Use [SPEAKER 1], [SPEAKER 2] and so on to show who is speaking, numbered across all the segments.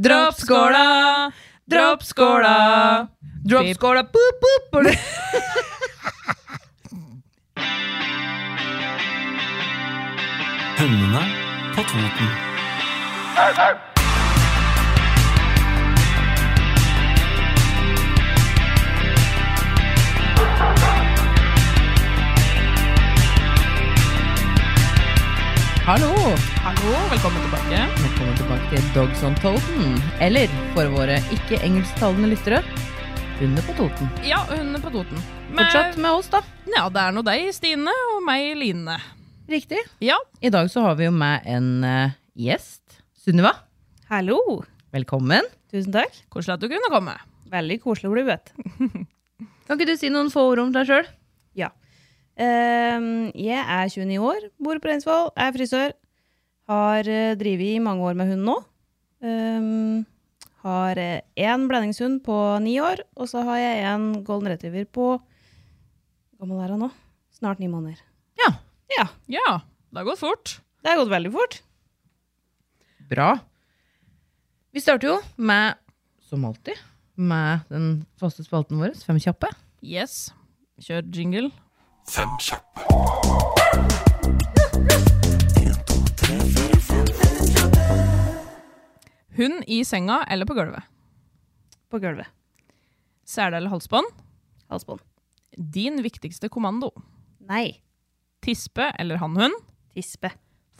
[SPEAKER 1] Dropp skåla, dropp skåla. Dropp skåla, boop, boop. boop.
[SPEAKER 2] Hønene på Toten.
[SPEAKER 1] Hallo. Hallo, velkommen tilbake. Velkommen tilbake til Dogs on Toten. Eller for våre ikke-engelsktalende lyttere, Hunder på Toten.
[SPEAKER 3] Ja, hun er på Toten. Men-
[SPEAKER 1] Fortsatt med oss, da.
[SPEAKER 3] Ja, det er nå deg, Stine, og meg, Line.
[SPEAKER 1] Riktig.
[SPEAKER 3] Ja.
[SPEAKER 1] I dag så har vi jo med en eh, gjest. Sunniva,
[SPEAKER 3] Hallo.
[SPEAKER 1] velkommen.
[SPEAKER 3] Tusen takk. Koselig at du kunne komme. Veldig koselig å bli møtt.
[SPEAKER 1] Kan ikke du si noen få ord om deg sjøl?
[SPEAKER 4] Ehm, jeg er 29 år, bor på Reinsvoll, er frisør. Har uh, drevet i mange år med hund nå. Ehm, har eh, én blandingshund på ni år, og så har jeg en golden retriever på Hvor gammel er han nå? Snart ni måneder.
[SPEAKER 3] Ja, det har gått fort.
[SPEAKER 4] Det har gått veldig fort.
[SPEAKER 1] Bra. Vi starter jo med, som alltid, med den faste spalten vår, Fem kjappe.
[SPEAKER 3] Yes. Kjør jingle.
[SPEAKER 2] Fem kjappe.
[SPEAKER 3] Hund i senga eller på gulvet.
[SPEAKER 4] På gulvet.
[SPEAKER 3] Sele eller halsbånd.
[SPEAKER 4] Halsbånd.
[SPEAKER 3] Din viktigste kommando.
[SPEAKER 4] Nei.
[SPEAKER 3] Tispe eller hannhund.
[SPEAKER 4] Tispe.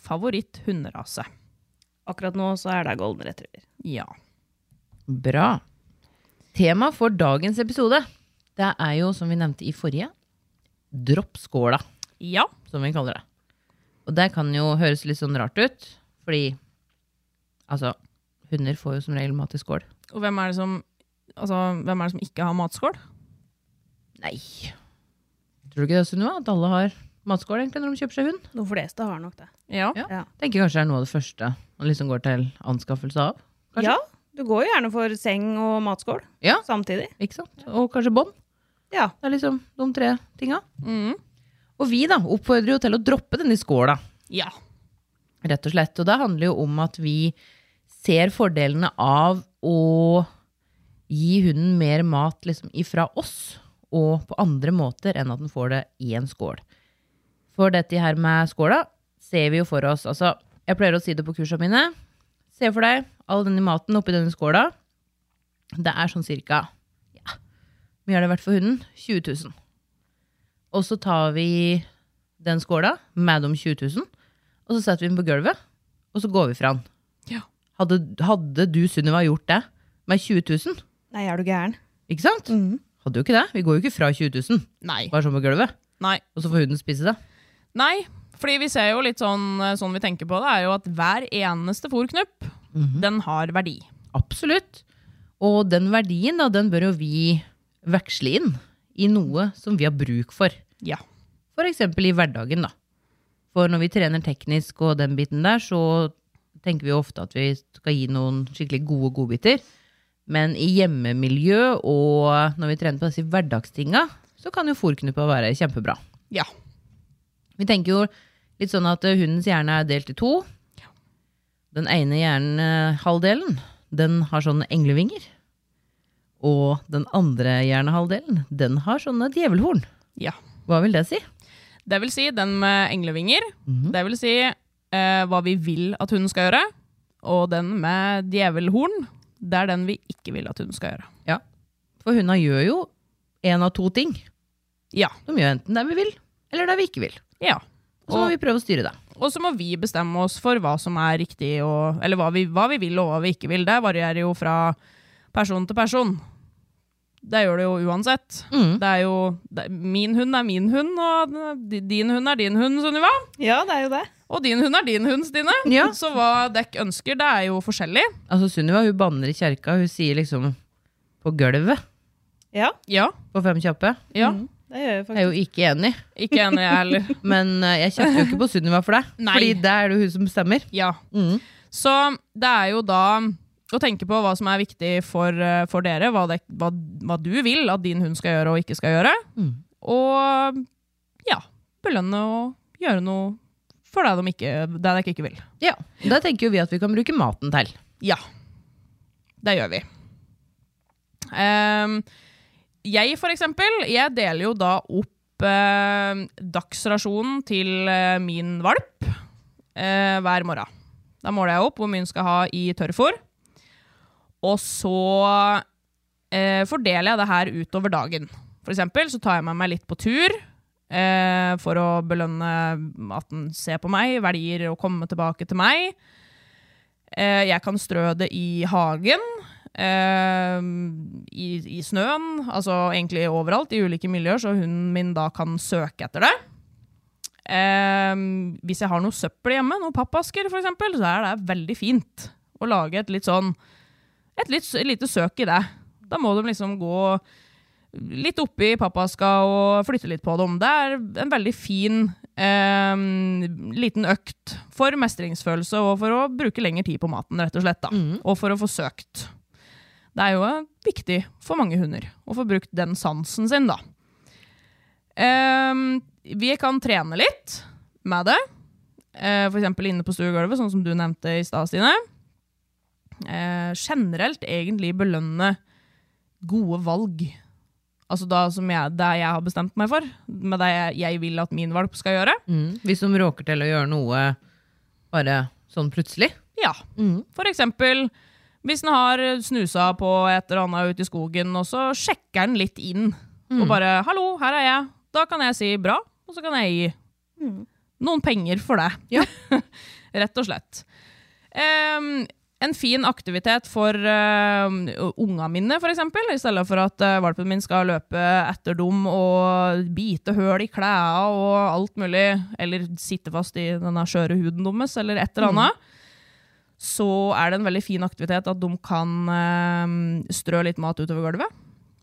[SPEAKER 3] Favoritt hunderase.
[SPEAKER 4] Akkurat nå så er det golden retriever.
[SPEAKER 3] Ja.
[SPEAKER 1] Bra. Tema for dagens episode, det er jo, som vi nevnte i forrige, dropp skåla,
[SPEAKER 3] Ja.
[SPEAKER 1] som vi kaller det. Og det kan jo høres litt sånn rart ut, fordi altså, hunder får jo som regel mat i skål.
[SPEAKER 3] Og hvem er det som, altså, hvem er det som ikke har matskål?
[SPEAKER 1] Nei. Tror du ikke det, Sunniva? At alle har matskål egentlig når de kjøper seg hund?
[SPEAKER 4] De fleste har nok det.
[SPEAKER 3] Ja.
[SPEAKER 1] Ja. Tenker kanskje det er noe av det første man liksom går til anskaffelse av. Kanskje?
[SPEAKER 4] Ja, du går jo gjerne for seng og matskål
[SPEAKER 1] Ja.
[SPEAKER 4] samtidig.
[SPEAKER 1] Ikke sant? Og kanskje bånd.
[SPEAKER 4] Ja.
[SPEAKER 1] Det er liksom de tre tinga.
[SPEAKER 3] Mm.
[SPEAKER 1] Og vi da oppfordrer jo til å droppe denne skåla,
[SPEAKER 3] Ja.
[SPEAKER 1] rett og slett. Og det handler jo om at vi ser fordelene av å gi hunden mer mat liksom ifra oss, og på andre måter enn at den får det i en skål. For dette her med skåla ser vi jo for oss Altså, jeg pleier å si det på kursene mine. Se for deg all denne maten oppi denne skåla. Det er sånn cirka ja, hvor mye har det vært for hunden? 20 000. Og så tar vi den skåla med de 20 000, og så setter vi den på gulvet, og så går vi fra den.
[SPEAKER 3] Ja.
[SPEAKER 1] Hadde, hadde du, Sunniva, gjort det med 20 000,
[SPEAKER 4] Nei, er du gæren?
[SPEAKER 1] ikke sant?
[SPEAKER 4] Mhm.
[SPEAKER 1] Hadde jo ikke det. Vi går jo ikke fra 20 000,
[SPEAKER 3] Nei.
[SPEAKER 1] bare sånn på gulvet,
[SPEAKER 3] Nei.
[SPEAKER 1] og så får hunden spise det.
[SPEAKER 3] Nei, fordi vi ser jo litt sånn, sånn vi tenker på det, er jo at hver eneste fòrknupp, den har verdi.
[SPEAKER 1] Absolutt. Og den verdien, da, den bør jo vi veksle inn i noe som vi har bruk for.
[SPEAKER 3] Ja.
[SPEAKER 1] For eksempel i hverdagen, da. For når vi trener teknisk og den biten der, så tenker vi jo ofte at vi skal gi noen skikkelig gode godbiter. Men i hjemmemiljø og når vi trener på disse hverdagstinga, så kan jo fòrknuppa være kjempebra.
[SPEAKER 3] Ja.
[SPEAKER 1] Vi tenker jo litt sånn at eh, hundens hjerne er delt i to. Den ene hjernehalvdelen, den har sånne englevinger. Og den andre hjernehalvdelen, den har sånne djevelhorn.
[SPEAKER 3] ja.
[SPEAKER 1] Hva vil det si?
[SPEAKER 3] Det vil si den med englevinger.
[SPEAKER 1] Mhm.
[SPEAKER 3] Det vil si eh, hva vi vil at hun skal gjøre. Og den med djevelhorn, det er den vi ikke vil at hun skal gjøre.
[SPEAKER 1] For hundene gjør jo en av to ting.
[SPEAKER 3] Ja.
[SPEAKER 1] De gjør enten det vi vil, eller det vi ikke vil.
[SPEAKER 3] Ja.
[SPEAKER 1] Og så må
[SPEAKER 3] Og-
[SPEAKER 1] vi prøve å styre det.
[SPEAKER 3] Og så må vi bestemme oss for hva som er riktig, og, eller hva vi, hva vi vil og hva vi ikke vil. Det varierer jo fra person til person. Det gjør det jo uansett.
[SPEAKER 1] Mm.
[SPEAKER 3] Det er jo, det, min hund er min hund, og d- din hund er din hund, Sunniva.
[SPEAKER 4] Ja, det er jo det.
[SPEAKER 3] Og din hund er din hund, Stine.
[SPEAKER 1] Ja.
[SPEAKER 3] Så hva dekk ønsker, det er jo forskjellig.
[SPEAKER 1] Altså, Sunniva hun banner i kjerka. Hun sier liksom på gulvet
[SPEAKER 4] Ja,
[SPEAKER 3] Ja,
[SPEAKER 1] på Fem kjappe.
[SPEAKER 3] ja.
[SPEAKER 4] det gjør jeg
[SPEAKER 1] Jeg er
[SPEAKER 4] faktisk.
[SPEAKER 1] jo ikke enig,
[SPEAKER 3] Ikke enig jeg heller.
[SPEAKER 1] men eh, jeg kjefter jo ikke på Sunniva for det.
[SPEAKER 3] Nei.
[SPEAKER 1] Fordi det er det jo hun som bestemmer.
[SPEAKER 3] Ja.
[SPEAKER 1] Mm.
[SPEAKER 3] Så det er jo da å tenke på hva som er viktig for, eh, for dere, hva, det, hva, hva du vil at din hund skal gjøre og ikke skal gjøre.
[SPEAKER 1] Mm.
[SPEAKER 3] Og ja, belønne og gjøre noe for deg de ikke, det dere ikke vil.
[SPEAKER 1] Ja, Da tenker jo vi at vi kan bruke maten til.
[SPEAKER 3] Ja, det gjør vi. Ehm, jeg, for eksempel, jeg deler jo da opp eh, dagsrasjonen til eh, min valp eh, hver morgen. Da måler jeg opp hvor mye hun skal ha i tørrfôr. Og så eh, fordeler jeg det her utover dagen. For eksempel så tar jeg med meg litt på tur eh, for å belønne at den ser på meg, velger å komme tilbake til meg. Eh, jeg kan strø det i hagen, eh, i, i snøen, altså egentlig overalt, i ulike miljøer, så hunden min da kan søke etter det. Eh, hvis jeg har noe søppel hjemme, noen pappasker for eksempel, så er det veldig fint å lage et litt sånn, et, litt, et lite søk i det. Da må de liksom gå litt oppi pappaska og flytte litt på dem. Det er en veldig fin eh, liten økt for mestringsfølelse og for å bruke lengre tid på maten, rett og slett. Da. Og for å få søkt. Det er jo eh, viktig for mange hunder å få brukt den sansen sin, da. Eh, vi kan trene litt med det. Eh, for eksempel inne på stuegulvet, sånn som du nevnte i stad, Stine. Eh, generelt egentlig belønne gode valg. Altså da som jeg, det jeg har bestemt meg for, med det jeg, jeg vil at min valp skal gjøre.
[SPEAKER 1] Hvis de råker til å gjøre noe bare sånn plutselig.
[SPEAKER 3] Ja. For eksempel hvis den har snusa på et eller annet ute i skogen, og så sjekker den litt inn. Og bare 'hallo, her er jeg'. Da kan jeg si 'bra', og så kan jeg gi noen penger for det. Rett og slett. Em, en fin aktivitet for em, unga mine, for eksempel. I stedet for at eh, valpen min skal løpe etter dem og bite høl i klærne og alt mulig. Eller sitte fast i denne skjøre huden deres, eller et eller annet så er det en veldig fin aktivitet at de kan eh, strø litt mat utover gulvet.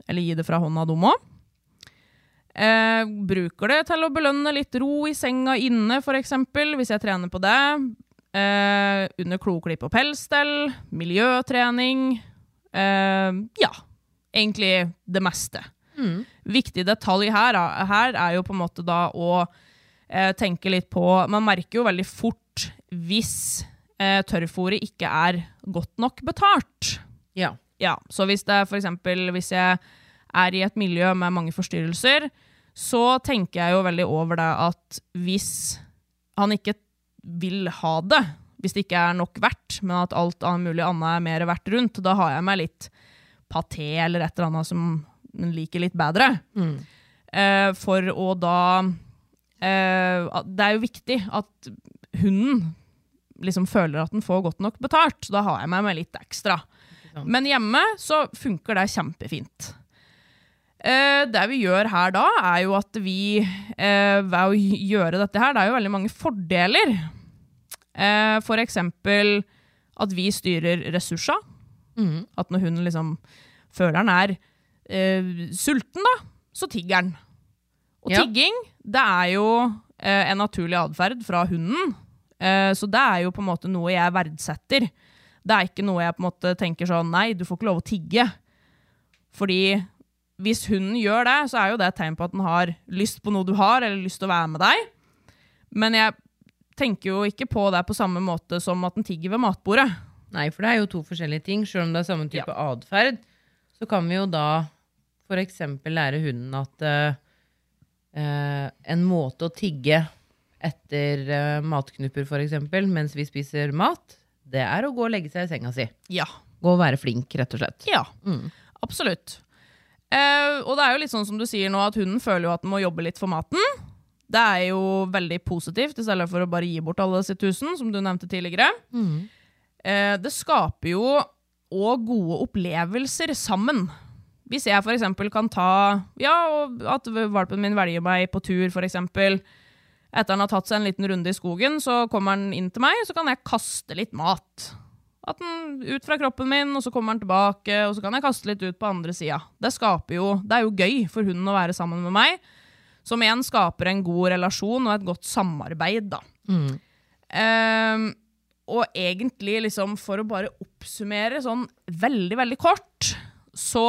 [SPEAKER 3] Eller gi det fra hånda, de òg. Eh, bruker det til å belønne litt ro i senga inne, f.eks., hvis jeg trener på det. Eh, under kloklipp og pelsstell. Miljøtrening. Eh, ja. Egentlig det meste. Viktig detalj her, da- her er jo på en måte da å eh, tenke litt på Man merker jo veldig fort hvis eh, tørrfôret ikke er godt nok betalt.
[SPEAKER 1] Ja.
[SPEAKER 3] Ja, så hvis det er for eksempel hvis jeg er i et miljø med mange forstyrrelser, så tenker jeg jo veldig over det at hvis han ikke vil ha det, hvis det ikke er nok verdt, men at alt annet mulig annet er mer verdt rundt, da har jeg meg litt paté eller et eller annet som en liker litt bedre. Eh, for å da eh, at- Det er jo viktig at hunden liksom føler at den får godt nok betalt, så da har jeg meg med litt ekstra. Men hjemme så funker det kjempefint. Eh, det vi gjør her da, er jo at vi eh, ved å gjøre dette her, det er jo veldig mange fordeler. Eh, for eksempel at vi styrer ressurser. At når hunden liksom føler den er eh, sulten, da, så tigger den. Og
[SPEAKER 1] Ja.
[SPEAKER 3] tigging, det er jo eh, en naturlig atferd fra hunden. Eh, så det er jo på en måte noe jeg verdsetter. Det er ikke noe jeg på en måte tenker sånn Nei, du får ikke lov å tigge. Fordi hvis hunden gjør det, så er jo det et tegn på at den har lyst på noe du har, eller lyst til å være med deg. Men jeg tenker jo ikke på det på samme måte som at den tigger ved matbordet.
[SPEAKER 1] Nei, for det er jo to forskjellige ting. Selv om det er samme type atferd, så kan vi jo da f.eks. lære hunden at eh, eh, en måte å tigge etter eh, matknupper, f.eks., mens vi spiser mat, det er å gå og legge seg i senga si.
[SPEAKER 3] Ja.
[SPEAKER 1] Gå og være flink, rett og slett.
[SPEAKER 3] Ja, absolutt. Eh, og det er jo litt sånn som du sier nå, at hunden føler jo at den må jobbe litt for maten. Det er jo veldig positivt, i stedet for å bare gi bort alle sitt tusen, som du nevnte tidligere. Eh, det skaper jo òg gode opplevelser sammen. Hvis jeg f.eks. kan ta Ja, og at valpen min velger meg på tur, f.eks. Etter han har tatt seg en liten runde i skogen, så kommer han inn til meg, så kan jeg kaste litt mat. At den ut fra kroppen min, og så kommer den tilbake, og så kan jeg kaste litt ut på andre sida. Det skaper jo, det er jo gøy for hunden å være sammen med meg, som igjen skaper en god relasjon og et godt samarbeid, da. Ehm, og egentlig, liksom, for å bare oppsummere sånn veldig, veldig kort, så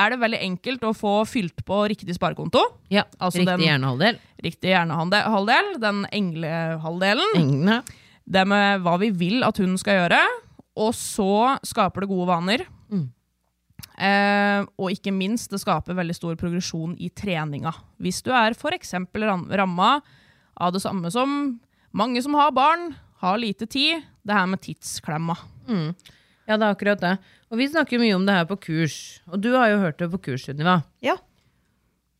[SPEAKER 3] er det veldig enkelt å få fylt på riktig sparekonto.
[SPEAKER 1] Ja,
[SPEAKER 3] Altså
[SPEAKER 1] Riktig
[SPEAKER 3] den-
[SPEAKER 1] hjernehalvdel.
[SPEAKER 3] Riktig hjernehalvdel, den englehalvdelen
[SPEAKER 1] Engene.
[SPEAKER 3] det med hva vi vil at hun skal gjøre, og så skaper det gode vaner.
[SPEAKER 1] Mm.
[SPEAKER 3] Eh, og ikke minst, det skaper veldig stor progresjon i treninga. Hvis du er f.eks. ramma av det samme som mange som har barn, har lite tid, det her med tidsklemma.
[SPEAKER 1] Ja, det er akkurat det. Og vi snakker jo mye om det her på kurs. Og du har jo hørt det på kurs, Sunniva.
[SPEAKER 4] Ja.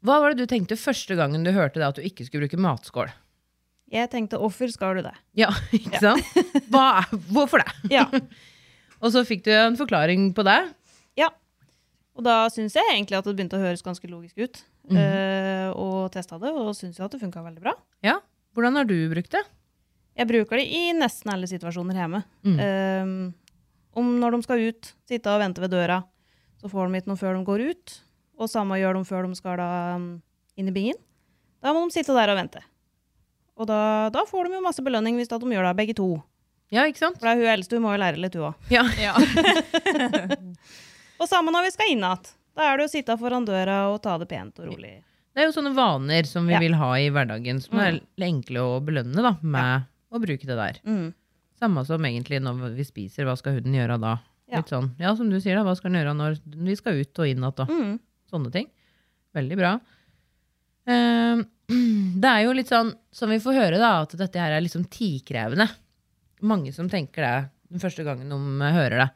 [SPEAKER 1] Hva var det du tenkte første gangen du hørte det at du ikke skulle bruke matskål?
[SPEAKER 4] Jeg tenkte 'hvorfor skal du det'?
[SPEAKER 1] Ja, ikke sant? Hva er, hvorfor det?
[SPEAKER 4] Ja.
[SPEAKER 1] Og så fikk du en forklaring på det.
[SPEAKER 4] ja. Og da syns jeg egentlig at det begynte å høres ganske logisk ut. Eh, og testa det, og syns jo at det funka veldig bra.
[SPEAKER 1] Ja. Hvordan har du brukt det?
[SPEAKER 4] Jeg bruker det i nesten alle situasjoner hjemme. Eh, om når de skal ut, sitte og vente ved døra, så får de ikke noe før de går ut. Og samme gjør de før de skal da mm, inn i bingen. Da må de sitte der og vente. Og da, da får de jo masse belønning hvis da de gjør det, begge to.
[SPEAKER 1] Ja, ikke sant?
[SPEAKER 4] For det er hun eldste, hun må jo lære litt, hun òg.
[SPEAKER 1] Ja.
[SPEAKER 4] Og sammen når vi skal inn igjen. Da er det å sitte foran døra og ta det pent og rolig.
[SPEAKER 1] Det er jo sånne vaner som vi
[SPEAKER 4] Ja.
[SPEAKER 1] vil ha i hverdagen, som er l- enkle å belønne da, med å bruke det der.
[SPEAKER 4] Mm.
[SPEAKER 1] Samme som egentlig når vi spiser, hva skal hunden gjøre da?
[SPEAKER 4] Ja.
[SPEAKER 1] Litt sånn, ja, som du sier da, hva skal den gjøre når vi skal ut og inn igjen? da?
[SPEAKER 4] Mm.
[SPEAKER 1] Sånne ting. Veldig bra. Eh, Det er jo litt sånn, som vi får høre da, at dette her er liksom tidkrevende. Mange som tenker det den første gangen de hører det.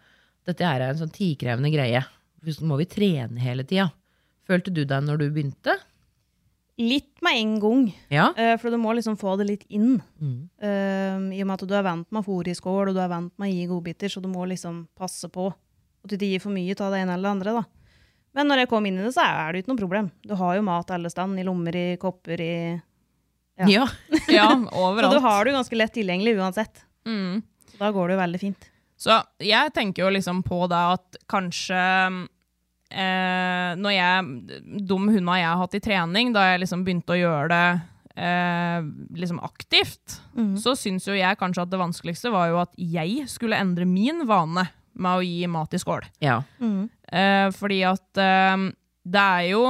[SPEAKER 1] Dette her er en sånn tidkrevende greie. Så må vi trene hele tida. Følte du deg når du begynte?
[SPEAKER 4] Litt med en gang,
[SPEAKER 1] Ja.
[SPEAKER 4] eh, for du må liksom få det litt inn.
[SPEAKER 1] Mm.
[SPEAKER 4] Um, I og med at du er vant med fôr i skål, og du er vant med å gi godbiter, så du må liksom passe på at du ikke gir for mye av det ene eller det andre. da. Men når jeg kom inn i det, så er det jo ikke noe problem. Du har jo mat alle steder, i lommer, i kopper, i Ja.
[SPEAKER 1] Ja.
[SPEAKER 3] Ja,
[SPEAKER 4] Så du
[SPEAKER 3] overalt.
[SPEAKER 4] har det jo ganske lett tilgjengelig uansett.
[SPEAKER 3] Mm.
[SPEAKER 4] Så da går det jo veldig fint.
[SPEAKER 3] Så jeg tenker jo liksom på det at kanskje eh, når jeg, De hundene jeg har hatt i trening, da jeg liksom begynte å gjøre det eh, liksom aktivt, så syns jo jeg kanskje at det vanskeligste var jo at jeg skulle endre min vane med å gi mat i skål.
[SPEAKER 1] ja.
[SPEAKER 3] Eh, fordi at eh, det er jo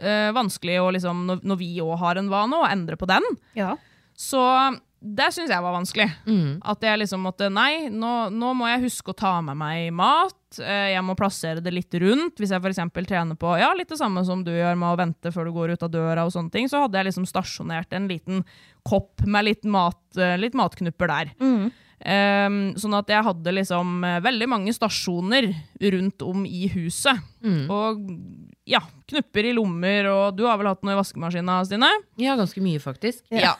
[SPEAKER 3] eh, vanskelig å liksom, når, når vi òg har en vane, å endre på den.
[SPEAKER 4] Ja.
[SPEAKER 3] Så det syns jeg var vanskelig. At jeg liksom måtte Nei, nå, nå må jeg huske å ta med meg mat. eh, Jeg må plassere det litt rundt. Hvis jeg f.eks. trener på ja, litt det samme som du gjør med å vente før du går ut av døra, og sånne ting, så hadde jeg liksom stasjonert en liten kopp med litt, mat, eh, litt matknupper der. Eh, sånn at jeg hadde liksom eh, veldig mange stasjoner rundt om i huset. Og ja, knupper i lommer, og du har vel hatt noe i vaskemaskina, Stine?
[SPEAKER 1] Ja, ganske mye, faktisk.
[SPEAKER 3] Ja.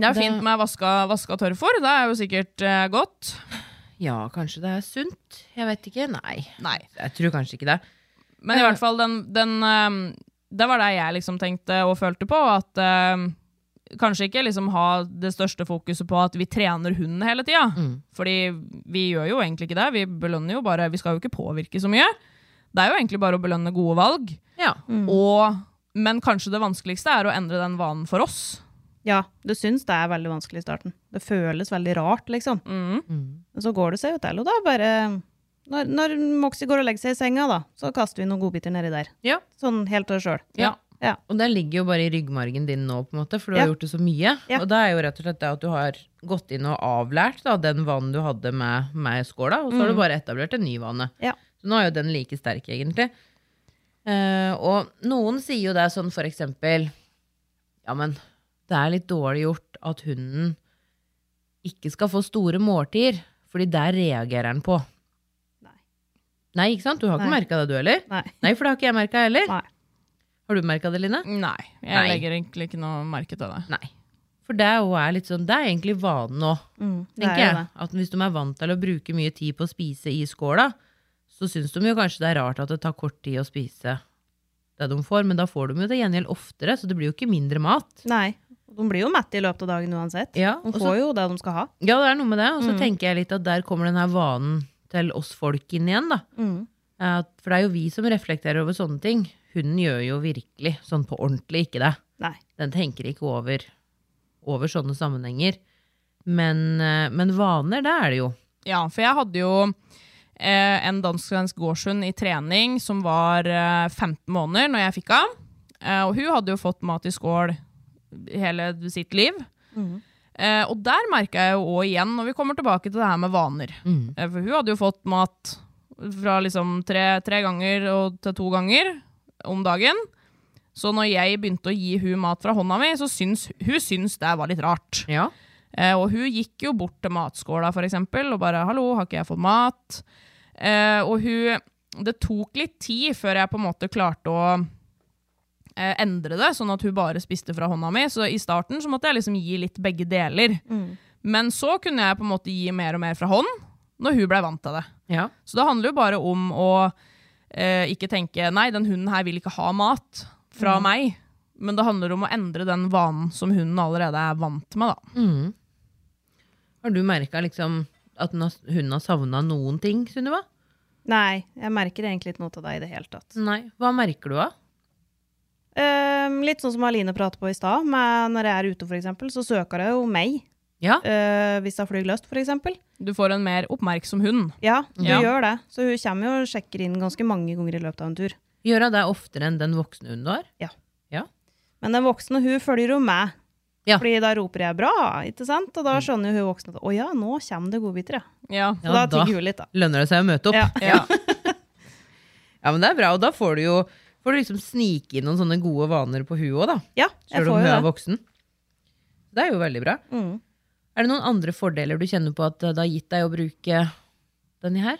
[SPEAKER 3] Det er
[SPEAKER 1] Det-
[SPEAKER 3] fint med vaska, vaska tørrfôr. Det er jo sikkert eh, godt.
[SPEAKER 1] Ja, kanskje det er sunt? Jeg vet ikke. Nei.
[SPEAKER 3] Nei.
[SPEAKER 1] Jeg tror kanskje ikke det.
[SPEAKER 3] Men i hvert fall, den, den eh, Det var det jeg liksom tenkte og følte på. At eh, kanskje ikke liksom ha det største fokuset på at vi trener hunden hele tida. Fordi vi gjør jo egentlig ikke det. Vi belønner jo bare Vi skal jo ikke påvirke så mye. Det er jo egentlig bare å belønne gode valg.
[SPEAKER 1] Ja.
[SPEAKER 4] Mm.
[SPEAKER 3] Mm. Og, men kanskje det vanskeligste er å endre den vanen for oss.
[SPEAKER 4] ja, du syns det er veldig vanskelig i starten. Det føles veldig rart, liksom.
[SPEAKER 1] Mm.
[SPEAKER 4] Men så går det seg jo til, og da bare når, når Moxie går og legger seg i senga, da, så kaster vi noen godbiter nedi der.
[SPEAKER 1] Ja.
[SPEAKER 4] Sånn helt av oss sjøl.
[SPEAKER 1] Ja.
[SPEAKER 4] Ja.
[SPEAKER 1] Og det ligger jo bare i ryggmargen din nå, på en måte, for du
[SPEAKER 4] Ja.
[SPEAKER 1] har gjort det så mye.
[SPEAKER 4] Ja.
[SPEAKER 1] Og det er jo rett og slett det at du har gått inn og avlært da, den vanen du hadde med, med skåla, og så
[SPEAKER 4] Mm.
[SPEAKER 1] har du bare etablert en ny vane.
[SPEAKER 4] Ja.
[SPEAKER 1] Så nå er jo den like sterk, egentlig. Eh, og noen sier jo det sånn for eksempel Ja, men det er litt dårlig gjort at hunden ikke skal få store måltider, fordi der reagerer den på.
[SPEAKER 4] Nei.
[SPEAKER 1] Nei, ikke sant? Du har ikke
[SPEAKER 4] Nei.
[SPEAKER 1] merka det, du heller?
[SPEAKER 4] Nei.
[SPEAKER 1] Nei, for det har ikke jeg merka heller.
[SPEAKER 4] Nei.
[SPEAKER 1] Har du merka det,
[SPEAKER 4] Mm.
[SPEAKER 1] Line?
[SPEAKER 3] Nei. Jeg
[SPEAKER 1] Nei.
[SPEAKER 3] legger egentlig ikke noe merke til det.
[SPEAKER 1] Nei. For det er, jo er litt sånn, det er egentlig vanen nå,
[SPEAKER 4] Mm, det
[SPEAKER 1] tenker
[SPEAKER 4] er jo
[SPEAKER 1] jeg. At hvis de er vant til å bruke mye tid på å spise i skåla, så syns de jo kanskje det er rart at det tar kort tid å spise det de får, men da får de jo det gjengjeld oftere, så det blir jo ikke mindre mat.
[SPEAKER 4] det. Nei. De blir jo mette i løpet av dagen uansett.
[SPEAKER 1] Ja,
[SPEAKER 4] De
[SPEAKER 1] og så-
[SPEAKER 4] får jo det de skal ha.
[SPEAKER 1] Ja, det er noe med det. Og så
[SPEAKER 4] Mm.
[SPEAKER 1] tenker jeg litt at der kommer den her vanen til oss folk inn igjen, da.
[SPEAKER 4] Mm.
[SPEAKER 1] Eh, For det er jo vi som reflekterer over sånne ting. Hunden gjør jo virkelig sånn på ordentlig ikke det.
[SPEAKER 4] Nei.
[SPEAKER 1] Den tenker ikke over, over sånne sammenhenger. Men, eh, men vaner, det er det jo.
[SPEAKER 3] Ja, for jeg hadde jo eh, en dansk-svensk gårdshund i trening som var eh, 15 måneder når jeg fikk ham. Eh, og hun hadde jo fått mat i skål hele sitt liv. Eh, og der merka jeg jo òg igjen, når vi kommer tilbake til det her med vaner. Eh, for hun hadde jo fått mat fra liksom tre, tre ganger og til to ganger om dagen. Så når jeg begynte å gi hun mat fra hånda mi, så syns hun syns det var litt rart.
[SPEAKER 1] Ja.
[SPEAKER 3] Eh, og hun gikk jo bort til matskåla, for eksempel, og bare 'hallo, har ikke jeg fått mat?' Eh, og hun Det tok litt tid før jeg på en måte klarte å eh, endre det, sånn at hun bare spiste fra hånda mi. Så i starten så måtte jeg liksom gi litt begge deler. Men så kunne jeg på en måte gi mer og mer fra hånd når hun ble vant til det.
[SPEAKER 1] Ja.
[SPEAKER 3] Så det handler jo bare om å eh, ikke tenke 'nei, den hunden her vil ikke ha mat fra meg'. Men det handler om å endre den vanen som hunden allerede er vant med. da.
[SPEAKER 1] Har du merka liksom at den har- hunden har savna noen ting, Sunniva?
[SPEAKER 4] Nei, jeg merker egentlig ikke noe til deg i det hele tatt.
[SPEAKER 1] Nei. Hva merker du av?
[SPEAKER 4] Ehm, litt sånn som Aline pratet på i stad, men når jeg er ute, for eksempel, så søker jeg jo meg.
[SPEAKER 1] Ja.
[SPEAKER 4] eh, hvis jeg flyr løst, for eksempel.
[SPEAKER 3] Du får en mer oppmerksom hund.
[SPEAKER 4] Ja, du
[SPEAKER 3] Ja.
[SPEAKER 4] gjør det. Så hun kommer jo og sjekker inn ganske mange ganger i løpet av en tur.
[SPEAKER 1] Gjør hun det oftere enn den voksne hunden du har?
[SPEAKER 4] Men den voksne, hun følger jo med.
[SPEAKER 1] Ja. Mm.
[SPEAKER 4] Fordi da roper jeg 'bra', ikke sant? Og da skjønner jo hun voksne at 'å ja, nå kommer det godbiter',
[SPEAKER 3] Ja.
[SPEAKER 4] ja. Så
[SPEAKER 1] Ja,
[SPEAKER 4] da
[SPEAKER 1] da.
[SPEAKER 4] tigger hun litt, da.
[SPEAKER 1] Lønner det seg å møte opp?
[SPEAKER 4] Ja.
[SPEAKER 3] Ja.
[SPEAKER 1] Ja, men det er bra, og da får du jo får du liksom snike inn noen sånne gode vaner på huet òg, da.
[SPEAKER 4] Ja, jeg
[SPEAKER 1] Sjøl om
[SPEAKER 4] får
[SPEAKER 1] hun er
[SPEAKER 4] jo det.
[SPEAKER 1] voksen. Det er jo veldig bra.
[SPEAKER 4] Mm.
[SPEAKER 1] Er det noen andre fordeler du kjenner på at eh, det har gitt deg å bruke denne her?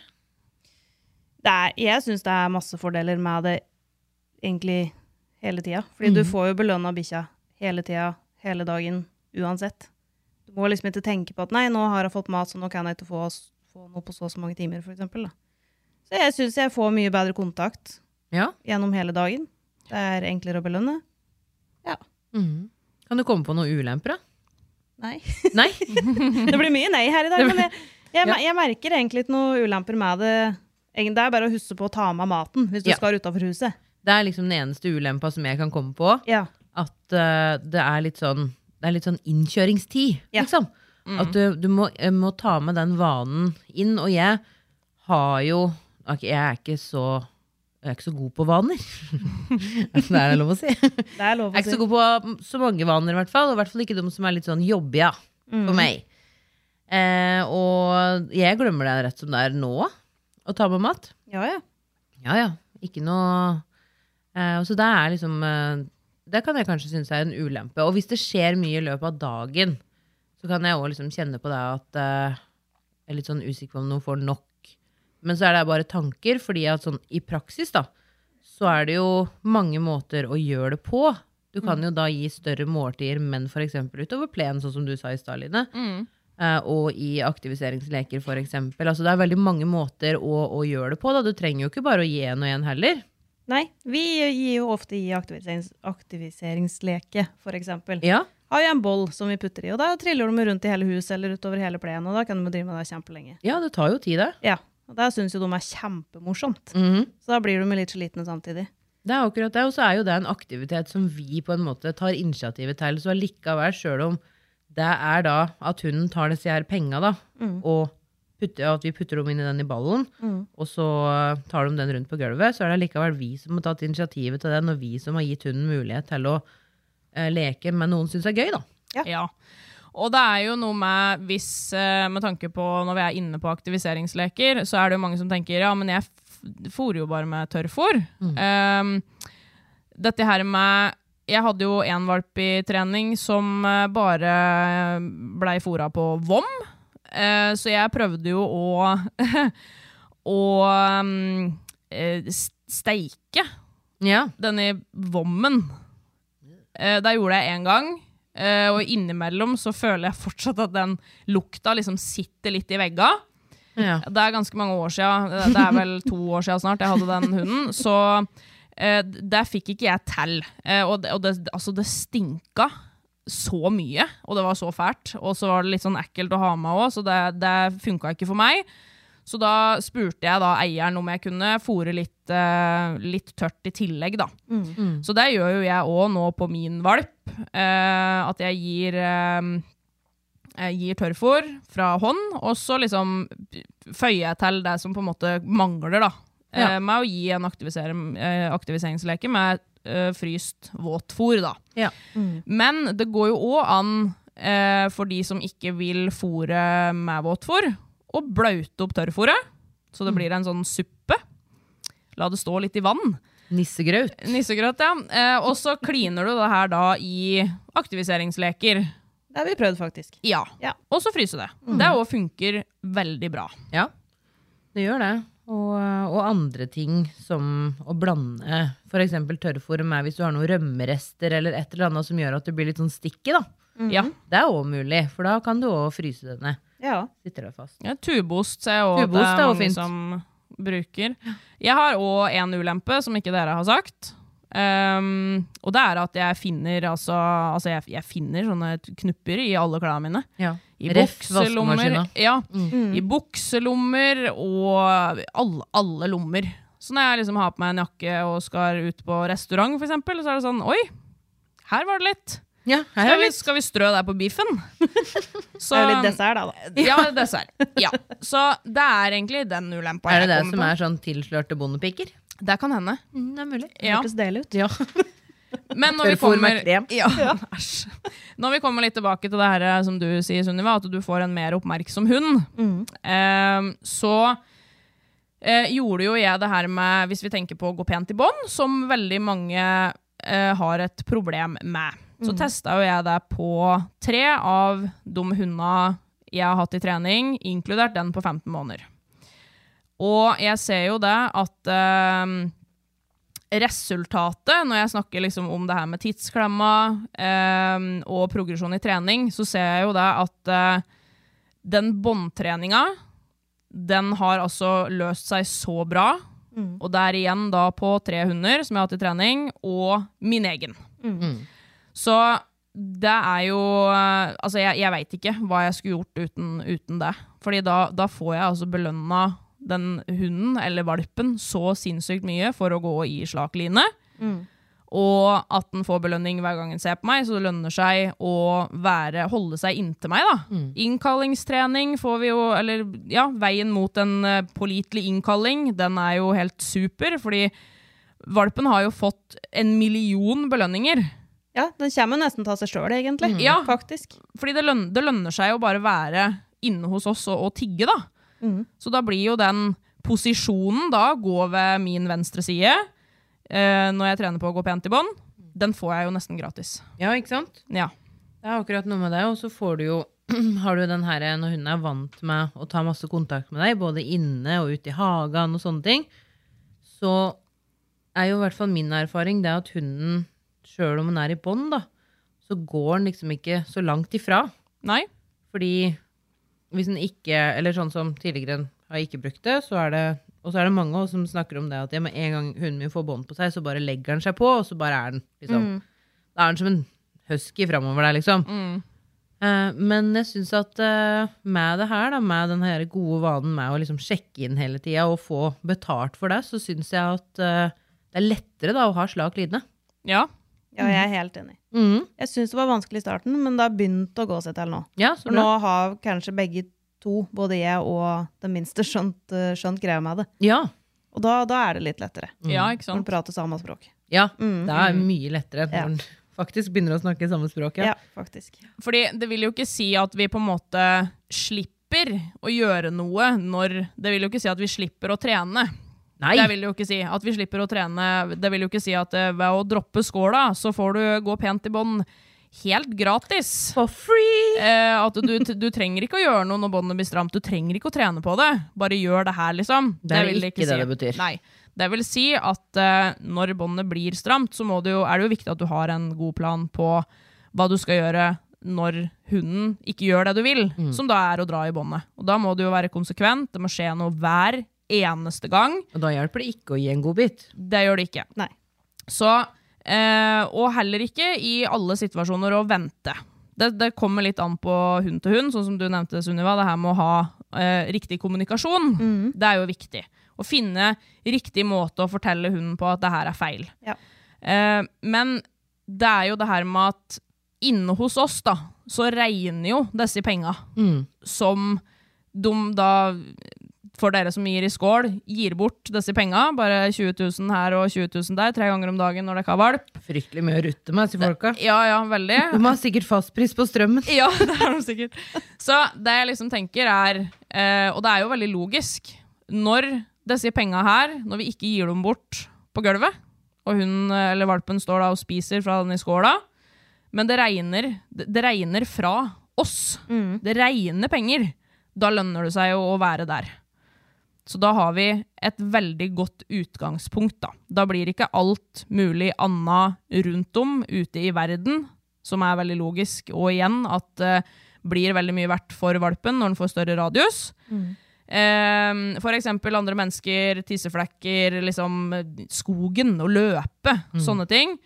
[SPEAKER 4] det er, jeg syns det er masse fordeler med det egentlig hele tida. Fordi
[SPEAKER 1] Mm.
[SPEAKER 4] du får jo belønna bikkja hele tida, hele dagen, uansett. Du må liksom ikke tenke på at 'nei, nå har jeg fått mat, så nå kan jeg ikke få, s- få noe på så og så mange timer', for eksempel. Da. Så jeg syns jeg får mye bedre kontakt
[SPEAKER 1] Ja.
[SPEAKER 4] gjennom hele dagen. Det er enklere å belønne. Ja.
[SPEAKER 1] Kan du komme på noen ulemper, da?
[SPEAKER 4] Nei.
[SPEAKER 1] Nei?
[SPEAKER 4] Det blir mye nei her i dag,
[SPEAKER 1] Det
[SPEAKER 4] men jeg, jeg,
[SPEAKER 1] Ja.
[SPEAKER 4] jeg merker egentlig ikke noen ulemper med det. Egen- Det er bare å huske på å ta med maten hvis du
[SPEAKER 1] Ja.
[SPEAKER 4] skal utafor huset.
[SPEAKER 1] Det er liksom den eneste ulempa som jeg kan komme på.
[SPEAKER 4] Ja.
[SPEAKER 1] At eh, det er litt sånn Det er litt sånn innkjøringstid,
[SPEAKER 4] Ja.
[SPEAKER 1] liksom. At du, du må, eh, må ta med den vanen inn. Og jeg har jo ok, Jeg er ikke så jeg er ikke så god på vaner. Er det er lov å si. Jeg
[SPEAKER 4] Det er lov
[SPEAKER 1] er
[SPEAKER 4] å si.
[SPEAKER 1] ikke så god på så mange vaner, i hvert fall. Og i hvert fall ikke de som er litt sånn jobbia for meg. Eh, og jeg glemmer det rett som det er nå, å ta med mat.
[SPEAKER 4] Ja, ja.
[SPEAKER 1] Ja, ja. Ikke noe eh, og Så det er liksom eh, Det kan jeg kanskje synes er en ulempe. Og hvis det skjer mye i løpet av dagen, så kan jeg òg liksom kjenne på det at eh, Jeg er litt sånn usikker på om noen får nok. Men så er det bare tanker, fordi at sånn i praksis, da, så er det jo mange måter å gjøre det på. Du kan jo da gi større måltider, men f.eks. utover plenen, sånn som du sa i stad, Line. Eh, og i aktiviseringsleker, f.eks. Altså, det er veldig mange måter å, å gjøre det på. Da. Du trenger jo ikke bare å gi en og en heller.
[SPEAKER 4] Nei, vi gir jo ofte i aktiviserings aktiviseringsleke, for eksempel.
[SPEAKER 1] Ja.
[SPEAKER 4] Har jo en boll som vi putter i, og da triller de rundt i hele huset eller utover hele plenen, og da kan de drive med det kjempelenge.
[SPEAKER 1] ja, det tar jo tid, det.
[SPEAKER 4] Ja, og der synes jo de er kjempemorsomt.
[SPEAKER 1] Mm-hmm. Mm.
[SPEAKER 4] Så da blir de litt slitne samtidig.
[SPEAKER 1] Det er akkurat det. Og så er jo det en aktivitet som vi på en måte tar initiativet til. Så allikevel, sjøl om det er da at hunden tar disse her penga, da, og putter, at vi putter dem inn i den i ballen, og så eh, tar de den rundt på gulvet, så er det allikevel vi som har tatt initiativet til den, og vi som har gitt hunden mulighet til å eh, leke med noen syns er gøy, da.
[SPEAKER 3] Ja. Og det er jo noe med hvis, eh, med tanke på når vi er inne på aktiviseringsleker, så er det jo mange som tenker ja, men jeg f- fôrer jo bare med tørrfôr. Ehm, dette her med Jeg hadde jo en valp i trening som eh, bare eh, blei fôra på vom, Eh, så jeg prøvde jo å å mm, eh, s- steike
[SPEAKER 1] Ja.
[SPEAKER 3] denne vommen. Eh, der gjorde jeg én gang, eh, og innimellom så føler jeg fortsatt at den lukta liksom sitter litt i vegga.
[SPEAKER 1] ja.
[SPEAKER 3] Det er ganske mange år siden, eh, det er vel to år siden snart jeg hadde den hunden, så eh, d- der fikk ikke jeg til. Eh, og det, og det, altså det stinka så mye, og det var så fælt. Og så var det litt sånn ekkelt å ha med òg, så det, det funka ikke for meg. Så da spurte jeg da eieren om jeg kunne fôre litt, eh, litt tørt i tillegg, da. Så det gjør jo jeg òg nå på min valp. eh, at jeg gir eh, jeg gir tørrfôr fra hånd, og så liksom føyer jeg til det som på en måte mangler, da.
[SPEAKER 1] Ja.
[SPEAKER 3] Eh, med å gi en aktivisere- eh, aktiviseringsleke med eh, fryst våtfôr, da.
[SPEAKER 1] Ja.
[SPEAKER 3] Men det går jo òg an, eh, for de som ikke vil fôre med våtfôr, å blaute opp tørrfôret, så det blir en sånn suppe. La det stå litt i vann.
[SPEAKER 1] Nissegraut.
[SPEAKER 3] Nissegrøt, ja. Eh, og så kliner du det her da i aktiviseringsleker.
[SPEAKER 4] Det har vi prøvd, faktisk.
[SPEAKER 3] Ja. Mm.
[SPEAKER 4] Ja.
[SPEAKER 3] Og så fryse det. Det òg funker veldig bra.
[SPEAKER 1] Ja, det gjør det. Og, eh, og andre ting som å blande f.eks. tørrfôr med hvis du har noen rømmerester eller et eller annet som gjør at det blir litt sånn sticky. da.
[SPEAKER 3] Ja.
[SPEAKER 1] Det er òg mulig, for da kan du òg fryse det ned.
[SPEAKER 4] Ja.
[SPEAKER 1] Sitter det fast.
[SPEAKER 3] ja tubost ser jeg òg at det
[SPEAKER 1] Tubeost er
[SPEAKER 3] er
[SPEAKER 1] også
[SPEAKER 3] mange
[SPEAKER 1] fint.
[SPEAKER 3] som bruker. Jeg har òg en ulempe som ikke dere har sagt. Ehm, og det er at jeg finner, altså, altså jeg, jeg finner sånne knupper i alle klærne mine.
[SPEAKER 1] Ja.
[SPEAKER 3] I
[SPEAKER 1] Ref
[SPEAKER 3] bukselommer.
[SPEAKER 1] vaskemaskina. Mm.
[SPEAKER 3] Ja, I bukselommer og alle, alle lommer. Så når jeg liksom har på meg en jakke og skal ut på restaurant, for eksempel, så er det sånn Oi, her var det litt.
[SPEAKER 1] Ja, her
[SPEAKER 3] Skal
[SPEAKER 1] er
[SPEAKER 3] vi,
[SPEAKER 1] litt sånn-
[SPEAKER 3] skal vi strø deg på biffen? Så,
[SPEAKER 4] Det er jo litt dessert, da. da.
[SPEAKER 3] Ja, dessert. Ja. Så det er egentlig den ulempa
[SPEAKER 1] er
[SPEAKER 3] jeg
[SPEAKER 1] det det
[SPEAKER 3] kommer
[SPEAKER 1] som
[SPEAKER 3] på.
[SPEAKER 1] er sånn tilslørte bondepiker?
[SPEAKER 3] Det kan hende.
[SPEAKER 1] Mm, det er mulig.
[SPEAKER 3] Ja.
[SPEAKER 4] Hørtes deilig ut.
[SPEAKER 1] Ja.
[SPEAKER 3] Men når vi
[SPEAKER 1] Tørrfôr med
[SPEAKER 3] kommer ja. Æsj. Når vi kommer litt tilbake til det her eh, som du sier, Sunniva, at du får en mer oppmerksom hund, eh, så eh, gjorde jo jeg det her med, hvis vi tenker på å gå pent i bånd, som veldig mange eh, har et problem med. Så testa jo jeg det på tre av de hundene jeg har hatt i trening, inkludert den på 15 måneder. Og jeg ser jo det at eh, resultatet, når jeg snakker liksom om det her med tidsklemma eh, og progresjon i trening, så ser jeg jo det at eh, den båndtreninga, den har altså løst seg så bra. Og der igjen da på tre hunder som jeg har hatt i trening, og min egen. Så det er jo eh, Altså, jeg, jeg veit ikke hva jeg skulle gjort uten, uten det. Fordi da, da får jeg altså belønna den hunden, eller valpen, så sinnssykt mye for å gå i slakline. Og at den får belønning hver gang den ser på meg, så det lønner seg å være, holde seg inntil meg. da. Innkallingstrening får vi jo Eller ja, veien mot en eh, pålitelig innkalling, den er jo helt super, fordi valpen har jo fått en million belønninger.
[SPEAKER 4] Ja, Den kommer jo nesten til seg sjøl, egentlig.
[SPEAKER 1] Mm.
[SPEAKER 3] Ja.
[SPEAKER 4] Faktisk.
[SPEAKER 3] Fordi det, løn, det lønner seg jo bare være inne hos oss og, og tigge, da. Så da blir jo den posisjonen da, gå ved min venstre side, eh, når jeg trener på å gå pent i bånd, den får jeg jo nesten gratis.
[SPEAKER 1] ja, ikke sant?
[SPEAKER 3] Ja.
[SPEAKER 1] Det er akkurat noe med det, og så får du jo har du den her, Når hunden er vant med å ta masse kontakt med deg, både inne og ute i hagen, og sånne ting, så er jo i hvert fall min erfaring det at hunden, sjøl om den er i bånd, da, så går den liksom ikke så langt ifra.
[SPEAKER 3] Nei?
[SPEAKER 1] Fordi hvis den ikke Eller sånn som tidligere har ikke brukt det, så er det og så er det mange også som snakker om det at ja, med en gang hunden min får bånd på seg, så bare legger den seg på, og så bare er den liksom. Da er den som en husky framover der, liksom. Eh, men jeg syns at eh, med det her, da, med den her gode vanen med å liksom sjekke inn hele tida og få betalt for det, så syns jeg at eh, det er lettere da å ha slak lidende.
[SPEAKER 3] Ja.
[SPEAKER 4] Ja, jeg er helt enig. Jeg syns det var vanskelig i starten, men det har begynt å gå seg til nå.
[SPEAKER 1] Ja, så
[SPEAKER 4] For nå har kanskje begge to, både jeg og den minste, skjønt, eh, skjønt greia med det.
[SPEAKER 1] Ja.
[SPEAKER 4] Og da, da er det litt lettere.
[SPEAKER 3] Mm. ja, ikke
[SPEAKER 4] Når man
[SPEAKER 3] sant?
[SPEAKER 4] prater samme språk.
[SPEAKER 1] ja det er mye lettere når
[SPEAKER 4] Mm. Ja.
[SPEAKER 1] en faktisk begynner å snakke samme språk.
[SPEAKER 4] Ja, faktisk.
[SPEAKER 3] Fordi det vil jo ikke si at vi på en måte slipper å gjøre noe når Det vil jo ikke si at vi slipper å trene.
[SPEAKER 1] Nei.
[SPEAKER 3] Det vil jo ikke si at vi slipper å trene. Det vil jo ikke si at eh, ved å droppe skåla, så får du gå pent i bånd helt gratis.
[SPEAKER 1] For free!
[SPEAKER 3] Eh, at du, du trenger ikke å gjøre noe når båndet blir stramt. Du trenger ikke å trene på det. Bare gjør det her, liksom.
[SPEAKER 1] Det er
[SPEAKER 3] vil
[SPEAKER 1] ikke det det betyr.
[SPEAKER 3] Nei. Det vil si at eh, når båndet blir stramt, så må du jo, er det jo viktig at du har en god plan på hva du skal gjøre når hunden ikke gjør det du vil,
[SPEAKER 1] Mm.
[SPEAKER 3] som da er å dra i båndet. Og da må du jo være konsekvent. Det må skje noe hver eneste gang.
[SPEAKER 1] Og da hjelper det ikke å gi en godbit.
[SPEAKER 3] Det gjør det ikke.
[SPEAKER 4] Nei.
[SPEAKER 3] Så Eh, og heller ikke i alle situasjoner å vente. Det, det kommer litt an på hund til hund, sånn som du nevnte, Sunniva. Det her med å ha eh, riktig kommunikasjon, det er jo viktig. Å finne riktig måte å fortelle hunden på at det her er feil.
[SPEAKER 4] Ja.
[SPEAKER 3] Eh, men det er jo det her med at inne hos oss, da, så regner jo disse penga
[SPEAKER 1] Mm.
[SPEAKER 3] som de da for dere som gir i skål, gir bort disse penga. Bare 20 000 her og 20 000 der, tre ganger om dagen når dere ikke har valp.
[SPEAKER 1] Fryktelig mye å rutte med, sier folka.
[SPEAKER 3] Ja, ja, veldig.
[SPEAKER 1] Du må ha sikkert fastpris på strømmen.
[SPEAKER 3] Ja, det er de sikkert. Så det jeg liksom tenker er, eh, og det er jo veldig logisk, når disse penga her, når vi ikke gir dem bort på gulvet, og hun eh, eller valpen står da og spiser fra den i skåla, men det regner, det det regner fra oss. Det regner penger. Da lønner det seg jo å være der. Så da har vi et veldig godt utgangspunkt, da. Da blir ikke alt mulig anna rundt om ute i verden, som er veldig logisk, og igjen at det blir veldig mye verdt for valpen når den får større radius.
[SPEAKER 4] Mm.
[SPEAKER 3] Eh, for eksempel andre mennesker, tisseflekker, liksom eh, skogen, å løpe,
[SPEAKER 4] Mm.
[SPEAKER 3] sånne ting.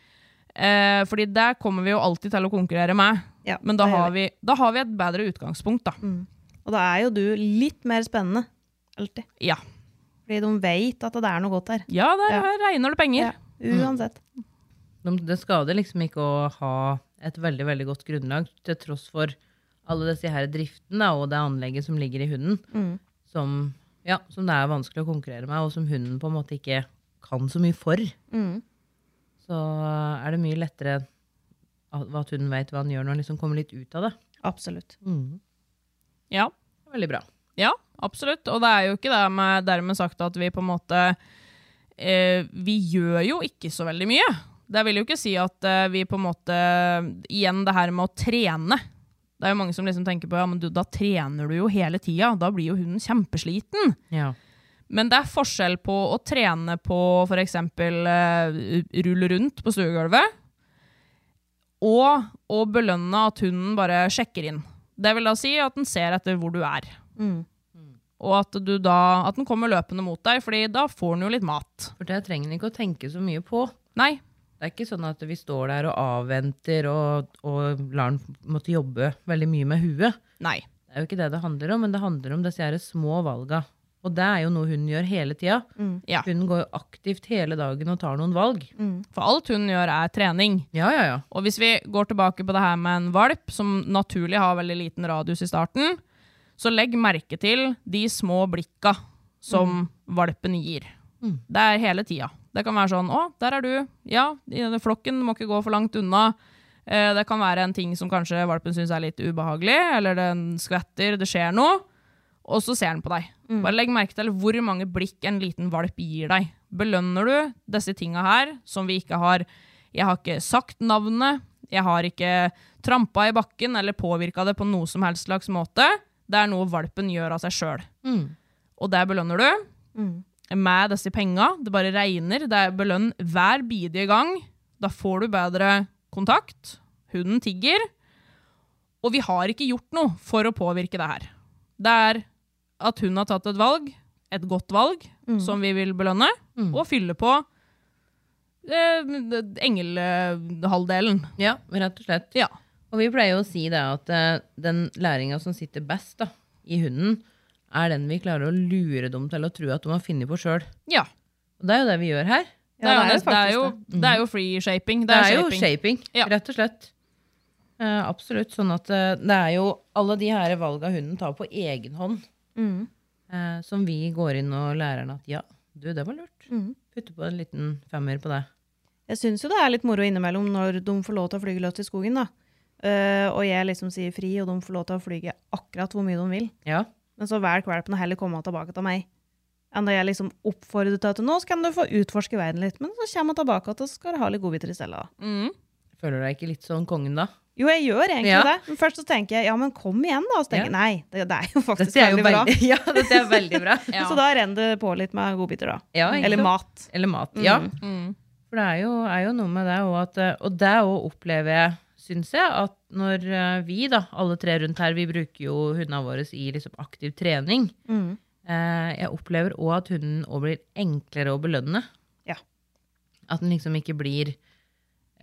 [SPEAKER 3] Eh, fordi det kommer vi jo alltid til å konkurrere med.
[SPEAKER 4] Ja,
[SPEAKER 3] Men da
[SPEAKER 4] det gjør Mm.
[SPEAKER 3] har, vi, da har vi et bedre utgangspunkt, da.
[SPEAKER 4] Og da er jo du litt mer spennende. Alltid.
[SPEAKER 3] Ja.
[SPEAKER 4] Fordi de vet at det er noe godt der.
[SPEAKER 3] ja, der
[SPEAKER 4] Ja.
[SPEAKER 3] her regner det penger.
[SPEAKER 4] Ja,
[SPEAKER 3] Mm.
[SPEAKER 4] uansett.
[SPEAKER 1] De- Det skader liksom ikke å ha et veldig veldig godt grunnlag, til tross for alle disse her driftene da, og det anlegget som ligger i hunden, som, ja, som det er vanskelig å konkurrere med, og som hunden på en måte ikke kan så mye for.
[SPEAKER 4] Mm.
[SPEAKER 1] Så er det mye lettere at at hunden vet hva han gjør, når han liksom kommer litt ut av det.
[SPEAKER 4] Absolutt.
[SPEAKER 3] Ja.
[SPEAKER 1] Veldig bra.
[SPEAKER 3] Ja, absolutt. Og det er jo ikke det med, dermed sagt at vi på en måte eh, Vi gjør jo ikke så veldig mye. Det vil jo ikke si at eh, vi på en måte Igjen det her med å trene. Det er jo mange som liksom tenker på ja, men du, da trener du jo hele tida. Da blir jo hunden kjempesliten.
[SPEAKER 1] Ja.
[SPEAKER 3] Men det er forskjell på å trene på f.eks. Uh, rulle rundt på stuegulvet, og å belønne at hunden bare sjekker inn. Det vil da si at den ser etter hvor du er. Og at, du da, at den kommer løpende mot deg, fordi da får den jo litt mat.
[SPEAKER 1] For det trenger han ikke å tenke så mye på.
[SPEAKER 3] Nei.
[SPEAKER 1] Det er ikke sånn at vi står der og avventer og, og lar han måtte jobbe veldig mye med huet.
[SPEAKER 3] Nei.
[SPEAKER 1] Det er jo ikke det det handler om, men det handler om disse her små valga. Og det er jo noe hun gjør hele tida.
[SPEAKER 3] Ja.
[SPEAKER 1] Hun går jo aktivt hele dagen og tar noen valg.
[SPEAKER 3] For alt hun gjør, er trening.
[SPEAKER 1] Ja, ja, ja.
[SPEAKER 3] Og hvis vi går tilbake på det her med en valp, som naturlig har veldig liten radius i starten, så legg merke til de små blikka som valpen gir. Det er hele tida. Det kan være sånn 'Å, der er du'. Ja, i denne flokken må ikke gå for langt unna. Eh, Det kan være en ting som kanskje valpen syns er litt ubehagelig, eller den skvetter, det skjer noe. Og så ser den på deg. Bare legg merke til hvor mange blikk en liten valp gir deg. Belønner du disse tinga her, som vi ikke har Jeg har ikke sagt navnet, jeg har ikke trampa i bakken eller påvirka det på noe som helst slags måte. Det er noe valpen gjør av seg sjøl. Og det belønner du med disse penga. Det bare regner. Det er belønn hver bidige gang. Da får du bedre kontakt. Hunden tigger. Og vi har ikke gjort noe for å påvirke det her. Det er at hun har tatt et valg, et godt valg, som vi vil belønne, og fylle på eh, engelhalvdelen.
[SPEAKER 1] Ja, rett og slett.
[SPEAKER 3] Ja.
[SPEAKER 1] Og vi pleier jo å si det at eh, den læringa som sitter best da, i hunden, er den vi klarer å lure dem til å tro at de har funnet på sjøl.
[SPEAKER 3] ja.
[SPEAKER 1] Og det er jo det vi gjør her.
[SPEAKER 3] Det er, jo,
[SPEAKER 4] det
[SPEAKER 3] nest- det, er
[SPEAKER 4] faktisk
[SPEAKER 3] jo, det er jo free shaping.
[SPEAKER 1] Det er jo shaping,
[SPEAKER 3] Ja.
[SPEAKER 1] rett og slett. Eh, absolutt. Sånn at eh, det er jo alle de her valga hunden tar på egen hånd,
[SPEAKER 4] Mm,
[SPEAKER 1] eh, som vi går inn og lærer den at ja, du, det var lurt. Putte på en liten femmer på det.
[SPEAKER 4] mm. Jeg syns jo det er litt moro innimellom når de får lov til å flyge løs i skogen, da. Eh, og jeg liksom sier fri, og de får lov til å flyge akkurat hvor mye de vil.
[SPEAKER 1] Ja.
[SPEAKER 4] Men så velger valpen å heller komme tilbake til meg. Enn da jeg liksom oppfordrer til at nå skal du få utforske verden litt, men så kommer hun tilbake og så skal du ha litt godbiter i stedet. da.
[SPEAKER 3] Mm.
[SPEAKER 1] Føler du deg ikke litt sånn kongen da?
[SPEAKER 4] Jo, jeg gjør egentlig
[SPEAKER 1] Ja.
[SPEAKER 4] det. Men først så tenker jeg ja, men kom igjen, da. Og så tenker
[SPEAKER 1] Ja.
[SPEAKER 4] jeg nei, det, det er jo faktisk
[SPEAKER 1] Dette er jo
[SPEAKER 4] veldig bra.
[SPEAKER 1] veldig- ja, dette er veldig bra.
[SPEAKER 3] Ja.
[SPEAKER 4] Så da renner det på litt med godbiter, da.
[SPEAKER 1] Ja, ikke
[SPEAKER 4] Eller
[SPEAKER 1] sant?
[SPEAKER 4] mat.
[SPEAKER 1] Eller mat. Ja.
[SPEAKER 3] Mm.
[SPEAKER 1] For det er jo, er jo noe med det òg at eh, Og det òg opplever jeg, syns jeg, at når eh, vi, da, alle tre rundt her, vi bruker jo hundene våre i liksom aktiv trening.
[SPEAKER 4] Mm.
[SPEAKER 1] Eh, jeg opplever òg at hunden også blir enklere å belønne.
[SPEAKER 4] Ja.
[SPEAKER 1] At den liksom ikke blir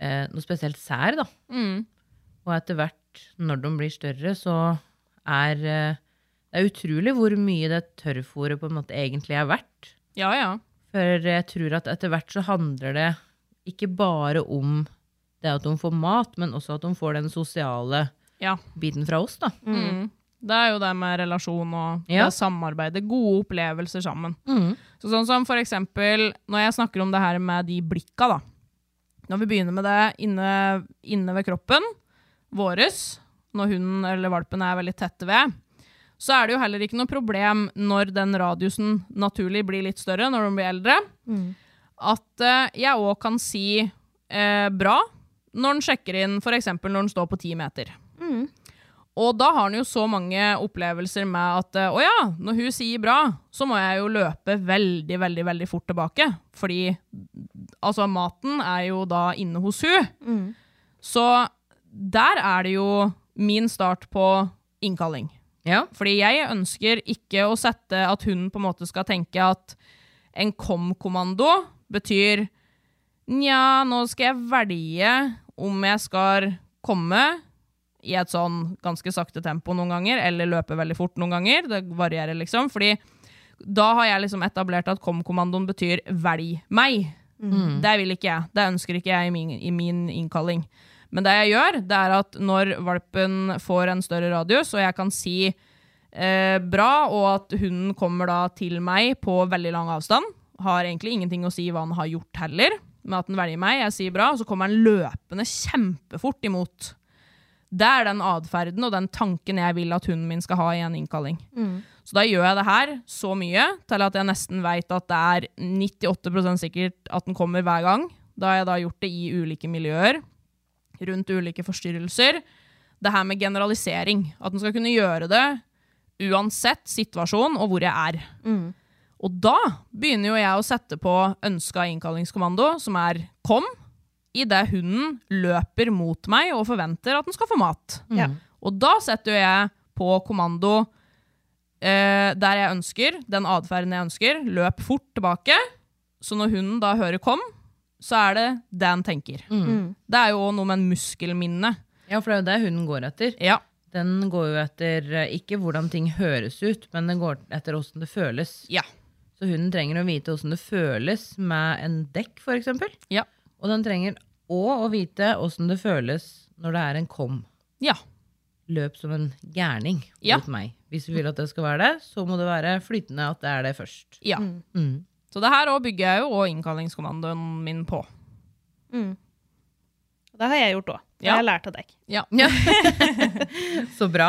[SPEAKER 1] eh, noe spesielt sær, da.
[SPEAKER 3] Mm.
[SPEAKER 1] Og etter hvert, når de blir større, så er eh, det er utrolig hvor mye det tørrfôret på en måte egentlig er verdt.
[SPEAKER 3] Ja, ja.
[SPEAKER 1] For jeg tror at etter hvert så handler det ikke bare om det at de får mat, men også at de får den sosiale
[SPEAKER 3] ja.
[SPEAKER 1] biten fra oss, da.
[SPEAKER 3] Mm. Det er jo det med relasjon og
[SPEAKER 1] Ja.
[SPEAKER 3] det samarbeidet. Gode opplevelser sammen. Så sånn som for eksempel, når jeg snakker om det her med de blikka, da. Når vi begynner med det inne, inne ved kroppen, våres, når hunden eller valpen er veldig tette ved, så er det jo heller ikke noe problem når den radiusen naturlig blir litt større når de blir eldre, at eh, jeg òg kan si eh, bra når den sjekker inn, f.eks. når den står på ti meter.
[SPEAKER 4] Mm.
[SPEAKER 1] Mm.
[SPEAKER 3] Og da har han jo så mange opplevelser med at eh, å ja, når hun sier bra, så må jeg jo løpe veldig, veldig veldig fort tilbake. Fordi altså, maten er jo da inne hos hun. Så der er det jo min start på innkalling.
[SPEAKER 1] Ja.
[SPEAKER 3] Fordi jeg ønsker ikke å sette at hun på en måte skal tenke at en kom-kommando betyr Nja, nå skal jeg velge om jeg skal komme i et sånn ganske sakte tempo noen ganger, eller løpe veldig fort noen ganger. Det varierer, liksom. Fordi da har jeg liksom etablert at kom-kommandoen betyr 'velg meg'. Det vil ikke jeg. Det ønsker ikke jeg i min, i min innkalling. Men det jeg gjør, det er at når valpen får en større radius, og jeg kan si eh, bra, og at hunden kommer da til meg på veldig lang avstand. Har egentlig ingenting å si hva han har gjort heller, men at han velger meg, jeg sier bra, og så kommer han løpende kjempefort imot. Det er den atferden og den tanken jeg vil at hunden min skal ha i en innkalling. Så da gjør jeg det her så mye til at jeg nesten veit at det er 98 sikkert at den kommer hver gang. Da har jeg da gjort det i ulike miljøer, rundt ulike forstyrrelser. Det her med generalisering. At den skal kunne gjøre det uansett situasjon og hvor jeg er. Og da begynner jo jeg å sette på ønska innkallingskommando, som er kom, idet hunden løper mot meg og forventer at den skal få mat.
[SPEAKER 4] Ja.
[SPEAKER 3] Og da setter jo jeg på kommando eh, der jeg ønsker, den atferden jeg ønsker, løp fort tilbake. Så når hunden da hører kom, så er det det han tenker.
[SPEAKER 1] Mm.
[SPEAKER 3] Det er jo noe med en muskelminne.
[SPEAKER 1] ja, for det er jo det hunden går etter.
[SPEAKER 3] Ja.
[SPEAKER 1] Den går jo etter eh, ikke hvordan ting høres ut, men den går etter åssen det føles.
[SPEAKER 3] Ja.
[SPEAKER 1] Så hunden trenger å vite åssen det føles med en dekk, f.eks.
[SPEAKER 3] Ja.
[SPEAKER 1] Og den trenger òg å vite åssen det føles når det er en kom.
[SPEAKER 3] Ja.
[SPEAKER 1] Løp som en gærning mot
[SPEAKER 3] Ja.
[SPEAKER 1] meg. Hvis du vil at det skal være det, så må det være flytende at det er det først.
[SPEAKER 3] ja.
[SPEAKER 1] Mm.
[SPEAKER 3] Så det her også bygger jeg jo også innkallingskommandoen min på.
[SPEAKER 4] Det har jeg gjort òg. Det
[SPEAKER 3] Ja.
[SPEAKER 4] har jeg lært av deg.
[SPEAKER 3] Ja.
[SPEAKER 1] Så bra.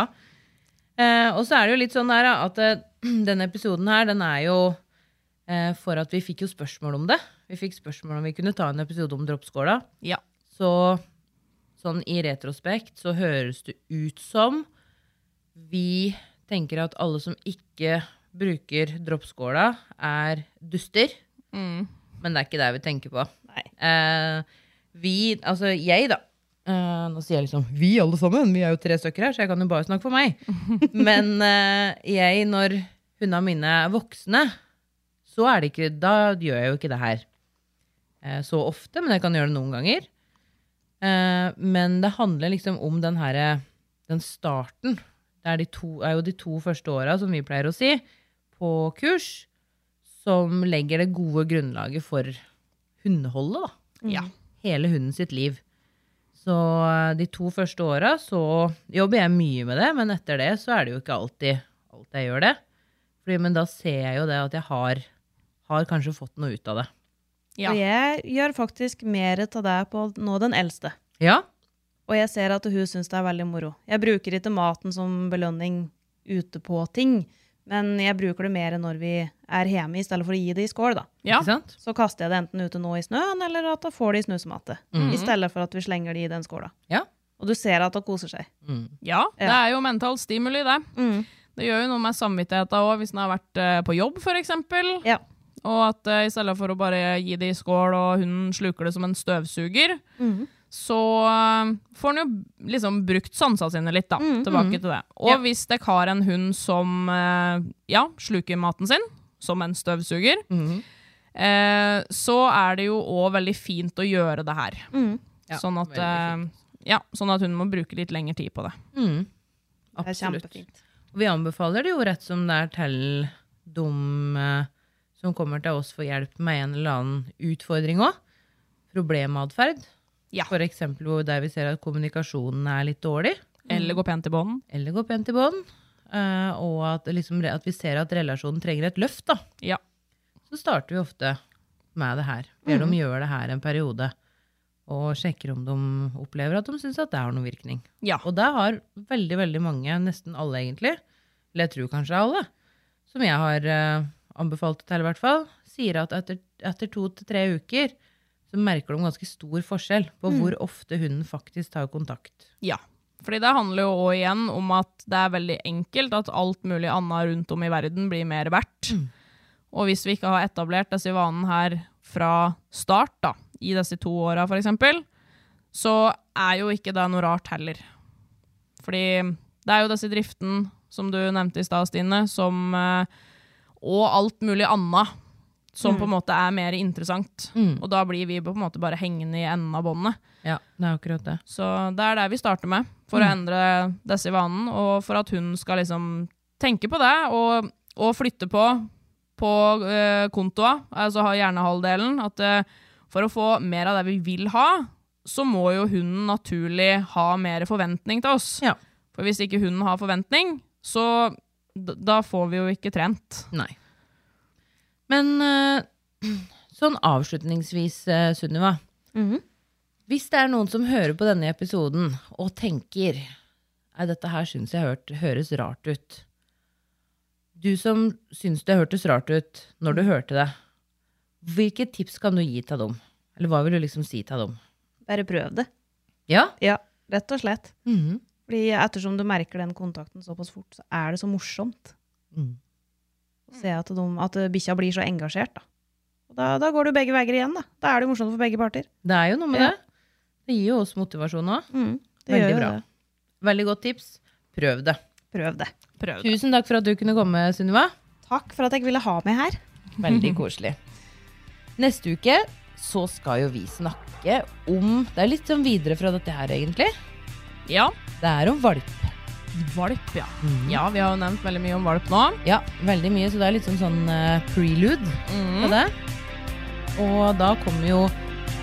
[SPEAKER 1] Eh, og så er det jo litt sånn der da, at eh, denne episoden her, den er jo eh, for at vi fikk jo spørsmål om det. Vi fikk spørsmål om vi kunne ta en episode om droppskåla.
[SPEAKER 3] Ja.
[SPEAKER 1] Så sånn i retrospekt så høres det ut som vi tenker at alle som ikke bruker droppskåla, er duster.
[SPEAKER 3] Mm.
[SPEAKER 1] Men det er ikke det vi tenker på.
[SPEAKER 4] Nei.
[SPEAKER 1] Eh, vi, altså jeg da, eh, nå sier jeg liksom vi alle sammen, vi er jo tre stykker her, så jeg kan jo bare snakke for meg. Men eh, jeg, når hundene mine er voksne, så er det ikke, da gjør jeg jo ikke det her eh, så ofte, men jeg kan gjøre det noen ganger. Eh, men det handler liksom om den her, eh, den starten. Det er, de to, er jo de to første åra, som vi pleier å si, på kurs, som legger det gode grunnlaget for hundeholdet, da.
[SPEAKER 3] Ja.
[SPEAKER 1] Hele hunden sitt liv. Så eh, de to første åra så jobber jeg mye med det, men etter det så er det jo ikke alltid, alltid jeg gjør det. Fordi, men da ser jeg jo det at jeg har, har kanskje fått noe ut av det.
[SPEAKER 3] Ja.
[SPEAKER 4] Og jeg gjør faktisk mer av det på nå den eldste.
[SPEAKER 1] Ja,
[SPEAKER 4] Og jeg ser at hun syns det er veldig moro. Jeg bruker ikke maten som belønning ute på ting, men jeg bruker det mer når vi er hjemme, i stedet for å gi det i skål. da.
[SPEAKER 3] Ja.
[SPEAKER 1] ikke sant?
[SPEAKER 4] Så kaster jeg det enten ute nå i snøen, eller at hun får det i snusmatte. I stedet for at vi slenger det i den skåla.
[SPEAKER 1] Ja.
[SPEAKER 4] Og du ser at hun koser seg.
[SPEAKER 3] Ja, det
[SPEAKER 4] Ja.
[SPEAKER 3] er jo mental stimuli, det.
[SPEAKER 4] Mm.
[SPEAKER 3] Det gjør jo noe med samvittigheten òg, hvis den har vært eh, på jobb, f.eks.
[SPEAKER 4] Ja.
[SPEAKER 3] Og at eh, i stedet for å bare gi det i skål, og hunden sluker det som en støvsuger, så eh, får den jo liksom brukt sansa sine litt, da. Tilbake til det. Og
[SPEAKER 4] Ja.
[SPEAKER 3] hvis dere har en hund som eh, ja, sluker maten sin, som en støvsuger, eh, så er det jo òg veldig fint å gjøre det her.
[SPEAKER 1] Ja,
[SPEAKER 3] sånn, at,
[SPEAKER 1] veldig
[SPEAKER 3] eh, ja, sånn at hun må bruke litt lengre tid på det.
[SPEAKER 1] Mm,
[SPEAKER 4] Det er
[SPEAKER 1] absolutt.
[SPEAKER 4] kjempefint.
[SPEAKER 1] Og Vi anbefaler det jo rett som det er til de eh, som kommer til oss for hjelp med en eller annen utfordring òg. Problematferd.
[SPEAKER 3] Ja.
[SPEAKER 1] For eksempel hvor der vi ser at kommunikasjonen er litt dårlig,
[SPEAKER 3] Eller gå pent i bånd.
[SPEAKER 1] eller går pent i bånd. eh, og at, liksom, re- at vi ser at relasjonen trenger et løft, da.
[SPEAKER 3] Ja.
[SPEAKER 1] Så starter vi ofte med det her. Ber dem gjøre det her en periode. Og sjekker om de opplever at de syns at det har noen virkning.
[SPEAKER 3] Ja.
[SPEAKER 1] Og det har veldig, veldig mange, nesten alle egentlig, eller jeg tror kanskje alle, som jeg har eh, anbefalt det til i hvert fall, sier at etter, etter to til tre uker så merker de ganske stor forskjell på hvor ofte hunden faktisk tar kontakt.
[SPEAKER 3] Ja. Fordi det handler jo også igjen om at det er veldig enkelt at alt mulig annet rundt om i verden blir mer verdt. Og hvis vi ikke har etablert disse vanene her fra start, da, i disse to åra f.eks., så er jo ikke det noe rart heller. Fordi det er jo disse driften, som du nevnte i stad, Stine, som eh, Og alt mulig annet som på en måte er mer interessant. Og da blir vi på en måte bare hengende i enden av båndet.
[SPEAKER 1] Ja, det er akkurat det.
[SPEAKER 3] Så det er det vi starter med, for å endre disse vanene, og for at hun skal liksom tenke på det, og, og flytte på, på eh, kontoa, altså ha hjernehalvdelen, at eh, for å få mer av det vi vil ha, så må jo hunden naturlig ha mer forventning til oss.
[SPEAKER 1] Ja.
[SPEAKER 3] For hvis ikke hunden har forventning, så d- da får vi jo ikke trent.
[SPEAKER 1] Nei. Men eh, sånn avslutningsvis, eh, Sunniva. Hvis det er noen som hører på denne episoden og tenker Nei, dette her syns jeg hørt, høres rart ut. Du som syns det hørtes rart ut når du hørte det, hvilke tips kan du gi til dem? Eller hva vil du liksom si til dem?
[SPEAKER 4] Bare prøv det.
[SPEAKER 1] Ja?
[SPEAKER 4] Ja, rett og slett.
[SPEAKER 1] Mhm.
[SPEAKER 4] Fordi ettersom du merker den kontakten såpass fort, så er det så morsomt.
[SPEAKER 1] Mm.
[SPEAKER 4] Å se at, de, at bikkja blir så engasjert, da. Og da, da går det jo begge veier igjen, da. Da er det jo morsomt for begge parter.
[SPEAKER 1] Det er jo noe med
[SPEAKER 4] Ja.
[SPEAKER 1] det. Det gir jo oss motivasjon òg.
[SPEAKER 4] Det gjør
[SPEAKER 1] Veldig
[SPEAKER 4] jo
[SPEAKER 1] bra.
[SPEAKER 4] det.
[SPEAKER 1] Veldig godt tips. Prøv det.
[SPEAKER 4] Prøv det.
[SPEAKER 3] Prøv det.
[SPEAKER 1] Tusen takk for at du kunne komme, Sunniva.
[SPEAKER 4] Takk for at jeg ville ha meg her.
[SPEAKER 1] Veldig koselig. Neste uke så skal jo vi snakke om Det er litt sånn videre fra dette her, egentlig.
[SPEAKER 3] Ja, Mm.
[SPEAKER 1] Det er om valp.
[SPEAKER 3] valp, ja. Ja, vi har jo nevnt veldig mye om valp nå.
[SPEAKER 1] Ja, veldig mye, så det er litt sånn, sånn eh, prelude på det. Og da kommer jo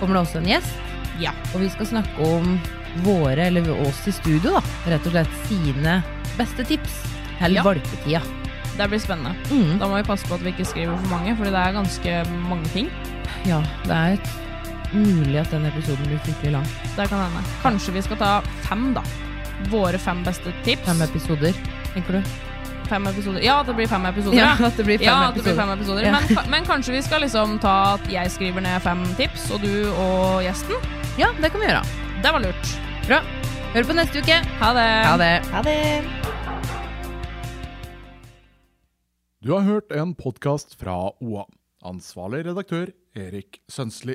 [SPEAKER 1] kommer det også en gjest,
[SPEAKER 3] Ja.
[SPEAKER 1] og vi skal snakke om våre, eller oss i studio, da, rett og slett sine beste tips til
[SPEAKER 3] Ja.
[SPEAKER 1] valpetida.
[SPEAKER 3] Det blir spennende.
[SPEAKER 1] Mm.
[SPEAKER 3] Da må vi passe på at vi ikke skriver for mange, fordi det er ganske mange ting.
[SPEAKER 1] Ja, det er mulig at den episoden blir fryktelig lang.
[SPEAKER 3] Det kan hende. Kanskje vi skal ta fem, da. Våre fem beste tips.
[SPEAKER 1] Fem episoder, tenker du?
[SPEAKER 3] Fem episoder. Ja, det blir fem episoder.
[SPEAKER 1] Ja,
[SPEAKER 3] Ja,
[SPEAKER 1] at det blir fem
[SPEAKER 3] Ja, at det blir fem
[SPEAKER 1] episoder.
[SPEAKER 3] episoder.
[SPEAKER 1] Ja.
[SPEAKER 3] Men, ka- men kanskje vi skal liksom ta at jeg skriver ned fem tips, og du og gjesten.
[SPEAKER 1] Ja, det kan vi gjøre.
[SPEAKER 3] Det var lurt.
[SPEAKER 1] Bra. Hør på neste uke.
[SPEAKER 3] Ha det.
[SPEAKER 1] Ha det.
[SPEAKER 4] Ha det.
[SPEAKER 2] Du har hørt en podkast fra OA. Ansvarlig redaktør Erik Sønsli.